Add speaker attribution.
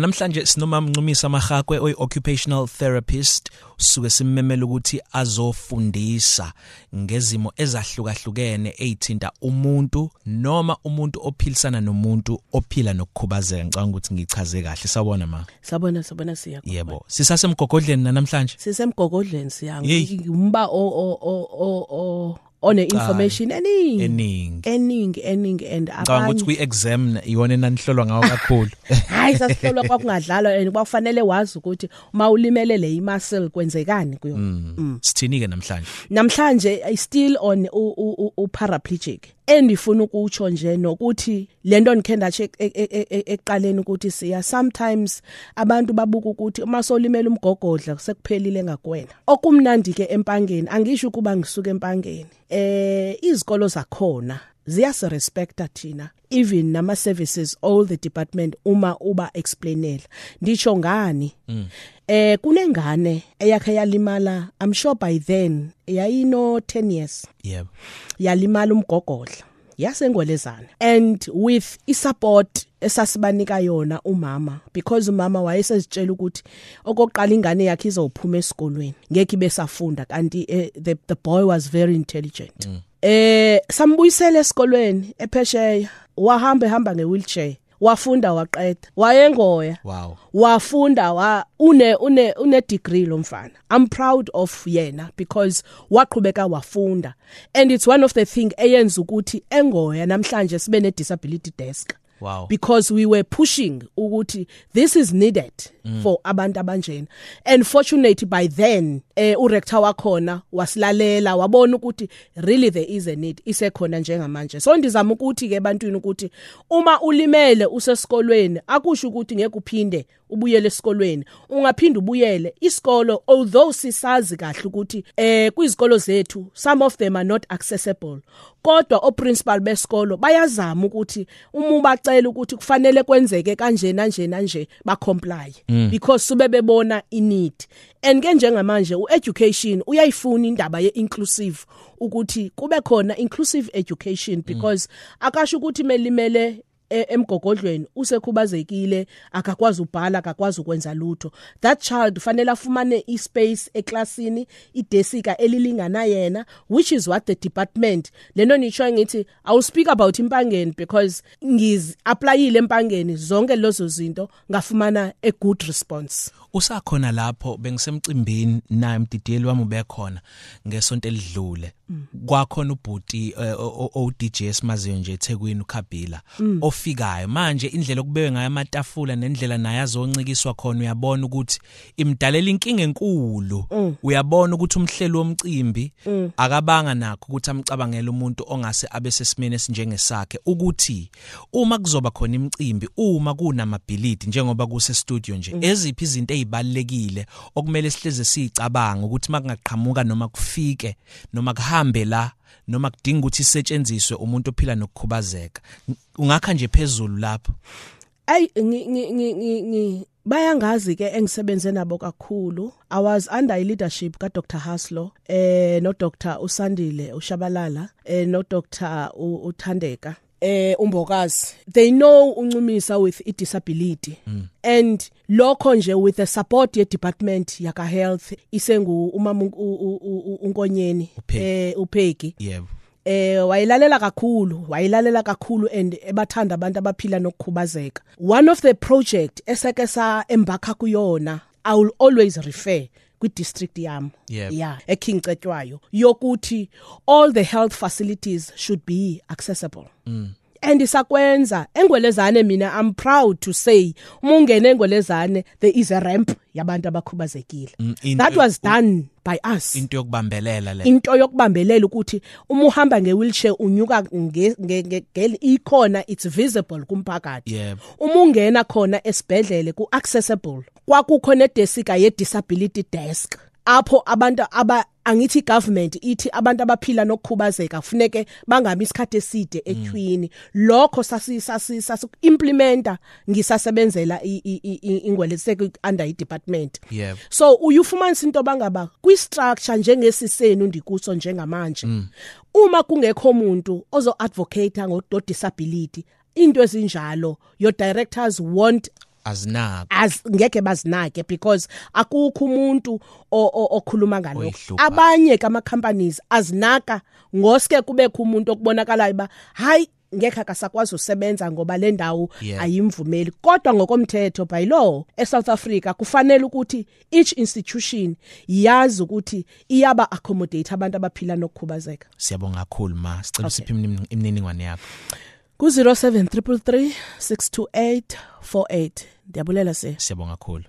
Speaker 1: Namhlanje sinoma Mncumisa Magakwe oy occupational therapist suke simmemela ukuthi azofundisa ngezimo ezahlukahlukene ezithinta umuntu noma umuntu ophilisana nomuntu ophila nokukhubazeka ngicabanga ukuthi ngichaze kahle sawona ma
Speaker 2: Sabona sabona siyakho.
Speaker 1: Yebo sisasemgogodleni na namhlanje
Speaker 2: Sisemgogodleni siyanga.
Speaker 1: Yeyi.
Speaker 2: Ngimba o o o o o one information eningi.
Speaker 1: eningi
Speaker 2: Eningi eningi and
Speaker 1: Ngicabanga ukuthi kwi exam iyona enanihlolwa ngawo kakhulu
Speaker 2: hayi sasihlolwa kwakungadlalwa and kwakufanele wazi ukuthi uma ulimelele imuscle kwenzekani kuyo.
Speaker 1: sithini ke namhlanje
Speaker 2: Namhlanje I still on u- u u- u paraplegic. Endifuna ukutsho nje nokuthi lento nikhenda che eqaleni e, ukuthi siya sometimes abantu babuka ukuthi uma solimela umgogodla sekuphelile ngakwena. Okumnandi ke empangeni angisho kuba ngisuka empangeni. Eh izikolo zakhona ziyasirespecta thina even nama services all the department uma uba explainela ndisho ngani eh kunengane eyakhe yalimala i'm sure by then yayino 10 years
Speaker 1: yebo
Speaker 2: yalimala umgogodla yasengwelezana and with isupport esasibanika yona umama because umama wayesezitshela ukuthi okoqala ingane yakhe izophuma esikolweni ngeke ibesafunda kanti eh, the, the boy was very intelligent mm. eh sambuyisela esikolweni ephesheya wahamba ehamba ngewheelchair wafunda waqeda wayengoya
Speaker 1: wow
Speaker 2: wafunda wa une une une degree lo mfana i'm proud of yena because waqhubeka wafunda and it's one of the thing eyenza ukuthi engoya namhlanje sibe ne disability desk
Speaker 1: wow
Speaker 2: because we were pushing ukuthi this is needed mm. for abantu abanjena and fortunately by then eh urector wakhona wasilalela wabona ukuthi really there is a need isekhona njengamanje so ndizama ukuthi ke bantwini ukuthi uma ulimele usesikolweni akusho ukuthi ngeke uphinde ubuyele esikolweni ungaphinda ubuyele isikolo although sisazi kahle ukuthi eh kwizikolo zethu some of them are not accessible kodwa o principal besikolo bayazama ukuthi uma ubacela ukuthi kufanele kwenzeke kanje nanje nanje ba comply because sube bebona i need and ke njengamanje u education uyayifuna indaba ye inclusive ukuthi kube khona inclusive education because akasho ukuthi melimele e- emgogodlweni usekhubazekile akakwazi ubhala akakwazi ukwenza lutho that child fanele afumane ispace eklasini idesika elilingana yena which is what the department lento nisho ngithi i'll speak about impangeni because ngiz applyile empangeni zonke lezo zinto ngafumana a good response
Speaker 1: usakhona lapho bengisemcimbini naye mdidiyeli wami ubekhona ngesonto elidlule kwakhona ubhuti eh, o- o DJ simaziyo nje eThekwini uKhabila ofikayo manje indlela okubewe ngayo amatafula nendlela naye azoncikiswa khona uyabona ukuthi imdalela inkinga enkulu uyabona ukuthi umhlelo womcimbi akabanga nakho ukuthi amcabangele umuntu ongase abe sesimene esinjengesakhe ukuthi uma kuzoba khona imicimbi uma kunamabhilidi njengoba kuse studio
Speaker 2: Mm.
Speaker 1: nje eziphi izinto ezibalekile okumele sihleze sicabanga ukuthi makungaqhamuka noma kufike noma kuhambe la noma kudinga ukuthi isetshenziswe umuntu ophila nokukhubazeka ungakha nje phezulu lapho
Speaker 2: ay ngi ngi ngi ngi- ngi bayangazi ke engisebenze nabo kakhulu i was under i leadership ka Dr Haslo eh no Dr Usandile Ushabalala eh no Dr U- Uthandeka eh umbokazi they know uncumisa with i disability mm. and lokho nje with the support ye department yaka health isengu umama u- u- u- u- unkonyeni
Speaker 1: Upheki.
Speaker 2: eh upheki
Speaker 1: yebo
Speaker 2: eh wayilalela kakhulu wayilalela kakhulu and ebathanda abantu abaphila nokukhubazeka one of the project eseke sa embakha kuyona i will always refer kwi district yami
Speaker 1: Yep.
Speaker 2: yeah ekhinqetshwayo yokuthi all the health facilities should be accessible mm. and isakwenza engwelezane mina i'm proud to say mungene engwelezane there is a ramp yabantu abakhubazekile
Speaker 1: Mm, in-
Speaker 2: that was done by us
Speaker 1: into yokubambelela le
Speaker 2: into yokubambelela ukuthi uma uhamba ngewheelchair unyuka nge- nge- nge- nge- ikhona it's visible kumphakathi
Speaker 1: Yebo.
Speaker 2: uma ungena khona esibhedlele ku accessible kwakukho ne desika ye disability desk apho abantu aba angithi government ithi abantu abaphila nokukhubazeka kufuneke bangami isikhathe eside equini lokho sasi sasi sasi implementa ngisasebenzela i- i- i- i- ingweleseke under i department
Speaker 1: Yebo.
Speaker 2: so uyufumanisa into bangaba kwi structure njengesisenu ndikuso njengamanje uma kungekho umuntu ozo advocate ngo disability into ezinjalo your directors want
Speaker 1: azinako
Speaker 2: as ngeke bazinake because akukho umuntu o- o- okhuluma ngalokho
Speaker 1: Oyihluphayo.
Speaker 2: abanye kama companies azinaka ngoske kubekho umuntu okubonakalayo ba hayi ngekhe akasakwazi usebenza ngoba le ndawo
Speaker 1: Yeah.
Speaker 2: ayimvumeli kodwa ngokomthetho by law eSouth Africa kufanele ukuthi each institution yazi ukuthi iyaba accommodate abantu abaphila nokukhubazeka
Speaker 1: siyabonga kakhulu ma sicela
Speaker 2: Okay.
Speaker 1: usiphe imini- imininingwane yakho
Speaker 2: ku 07333 628 48 ndiyabulela se
Speaker 1: siyabonga kakhulu